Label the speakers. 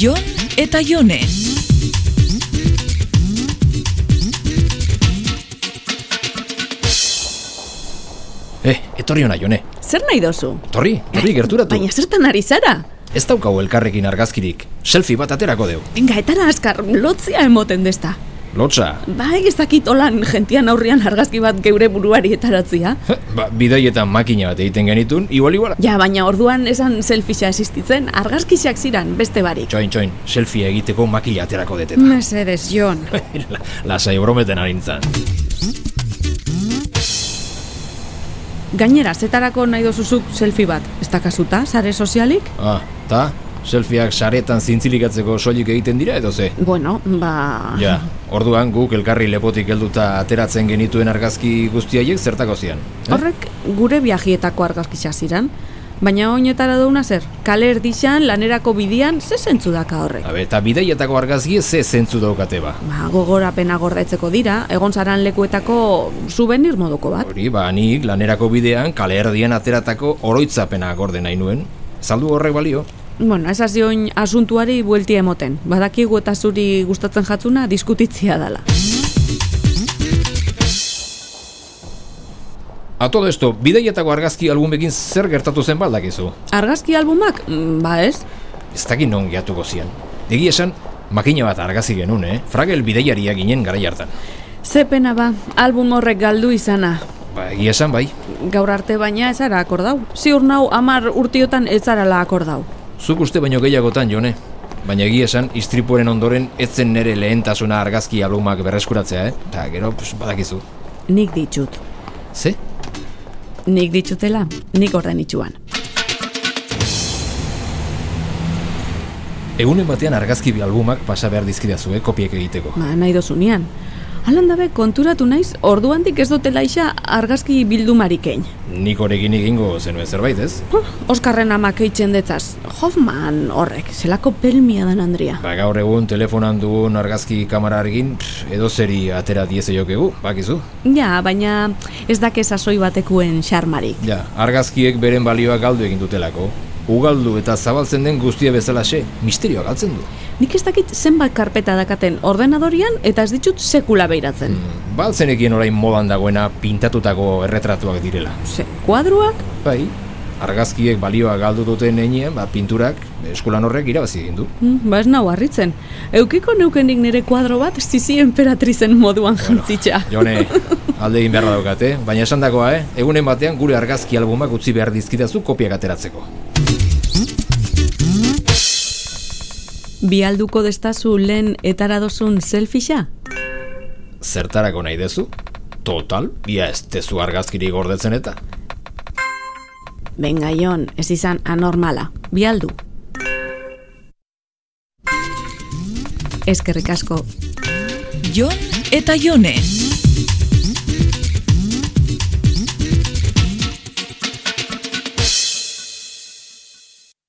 Speaker 1: Jon eta Jone.
Speaker 2: Eh, etorri ona, Jone.
Speaker 3: Zer nahi dozu?
Speaker 2: Torri, torri gerturatu.
Speaker 3: Bai, Baina zertan ari zara?
Speaker 2: Ez daukagu elkarrekin argazkirik. Selfie bat aterako deu.
Speaker 3: Benga, etara askar, lotzia emoten desta.
Speaker 2: Lotsa.
Speaker 3: Bai, ez dakit olan jentian aurrian argazki bat geure buruari etaratzia.
Speaker 2: Eh, Ba, bidaietan makina bat egiten genitun, igual igual.
Speaker 3: Ja, baina orduan esan selfixa existitzen, argazkixak ziran beste barik.
Speaker 2: Txoin, txoin, selfie egiteko makila aterako dete.
Speaker 3: Mm.
Speaker 4: Mesedes, Jon.
Speaker 2: La- Lasai brometen arintzan.
Speaker 3: Gainera, zetarako nahi dozuzuk selfie bat, ez dakasuta, sare sozialik?
Speaker 2: Ah, ta? Selfieak saretan zintzilikatzeko soilik egiten dira edo ze?
Speaker 3: Bueno, ba...
Speaker 2: Ja, orduan guk elkarri lepotik helduta ateratzen genituen argazki guztiaiek zertako zian. Eh?
Speaker 3: Horrek gure viajietako argazkixa ziran. Baina oinetara dauna zer, kale erdixan, lanerako bidian, ze zentzu daka horrek?
Speaker 2: Habe, eta bidaietako argazki ze zentzu daukate ba.
Speaker 3: Ba, gogorapena gordetzeko dira, egon zaran lekuetako souvenir moduko bat.
Speaker 2: Hori, ba, nik lanerako bidean kale erdien ateratako oroitzapena gorde nahi nuen. Zaldu horrek balio.
Speaker 3: Bueno, ez hasi oin asuntuari bueltia emoten. Badakigu eta zuri gustatzen jatzuna diskutitzia dala.
Speaker 2: A todo esto, bideietako argazki albumekin zer gertatu zen ba, baldakizu.
Speaker 3: Argazki albumak, Mm, ba ez?
Speaker 2: Ez dakit non geatuko zian. Egi esan, makina bat argazi genuen, eh? Fragel bideiaria ginen garai hartan.
Speaker 3: Ze pena ba, album horrek galdu izana.
Speaker 2: Ba, egia esan bai,
Speaker 3: Gaur arte baina ez zara akordau. Ziur nau amar urtiotan ez zarala akordau.
Speaker 2: zuk uste baino gehiagotan, jone. Baina egia esan, istripuaren ondoren etzen nere lehentasuna argazki albumak berreskuratzea, eh? Eta gero, pues, badakizu.
Speaker 3: Nik ditut.
Speaker 2: Ze?
Speaker 3: Nik ditutela, nik orden itxuan.
Speaker 2: Egunen batean argazki bi albumak pasa behar dizkidazu, eh? Kopiek egiteko.
Speaker 3: Ba, nahi dozunean. Alan dabe konturatu naiz, orduandik ez dutela isa argazki bildumarik egin.
Speaker 2: Nik horrekin egingo zenuen zerbait, ez?
Speaker 3: Oskarren amak eitzen detzaz, Hoffman horrek, zelako pelmia dan Andrea.
Speaker 2: Ba, gaur egun telefonan dugun argazki kamerarekin pff, edo zeri atera diezaiokegu, bakizu.
Speaker 3: Ja, baina ez dake sasoi batekuen xarmarik.
Speaker 2: Ja, argazkiek beren balioa galdu egin dutelako. Ugaldu eta zabaltzen den guztia bezalaxe, misterioa galtzen du.
Speaker 3: Nik ez dakit zenbat karpeta dakaten ordenadorian eta ez ditut sekula beiratzen.
Speaker 2: Hmm, Baltzenekien orain modan dagoena pintatutako erretratuak direla.
Speaker 3: Ze, kuadruak?
Speaker 2: Bai, argazkiek balioa galdu duten heinean, ba, pinturak eskulan horrek irabazi egin du.
Speaker 3: Hm, ba ez nau harritzen. Eukiko neukenik nire kuadro bat zizi emperatrizen moduan jantzitxa.
Speaker 2: Jone, alde egin beharra daukat, eh? Baina esan dagoa, eh? Egunen batean gure argazki albumak utzi behar dizkidazu kopiak ateratzeko.
Speaker 3: Bialduko destazu lehen etara dozun selfixa?
Speaker 2: Zertarako nahi dezu? Total, ia ez tezu argazkiri gordetzen eta.
Speaker 3: Benga Jon, ez izan anormala. Bialdu. Eskerrik asko.
Speaker 1: Jon eta Jone.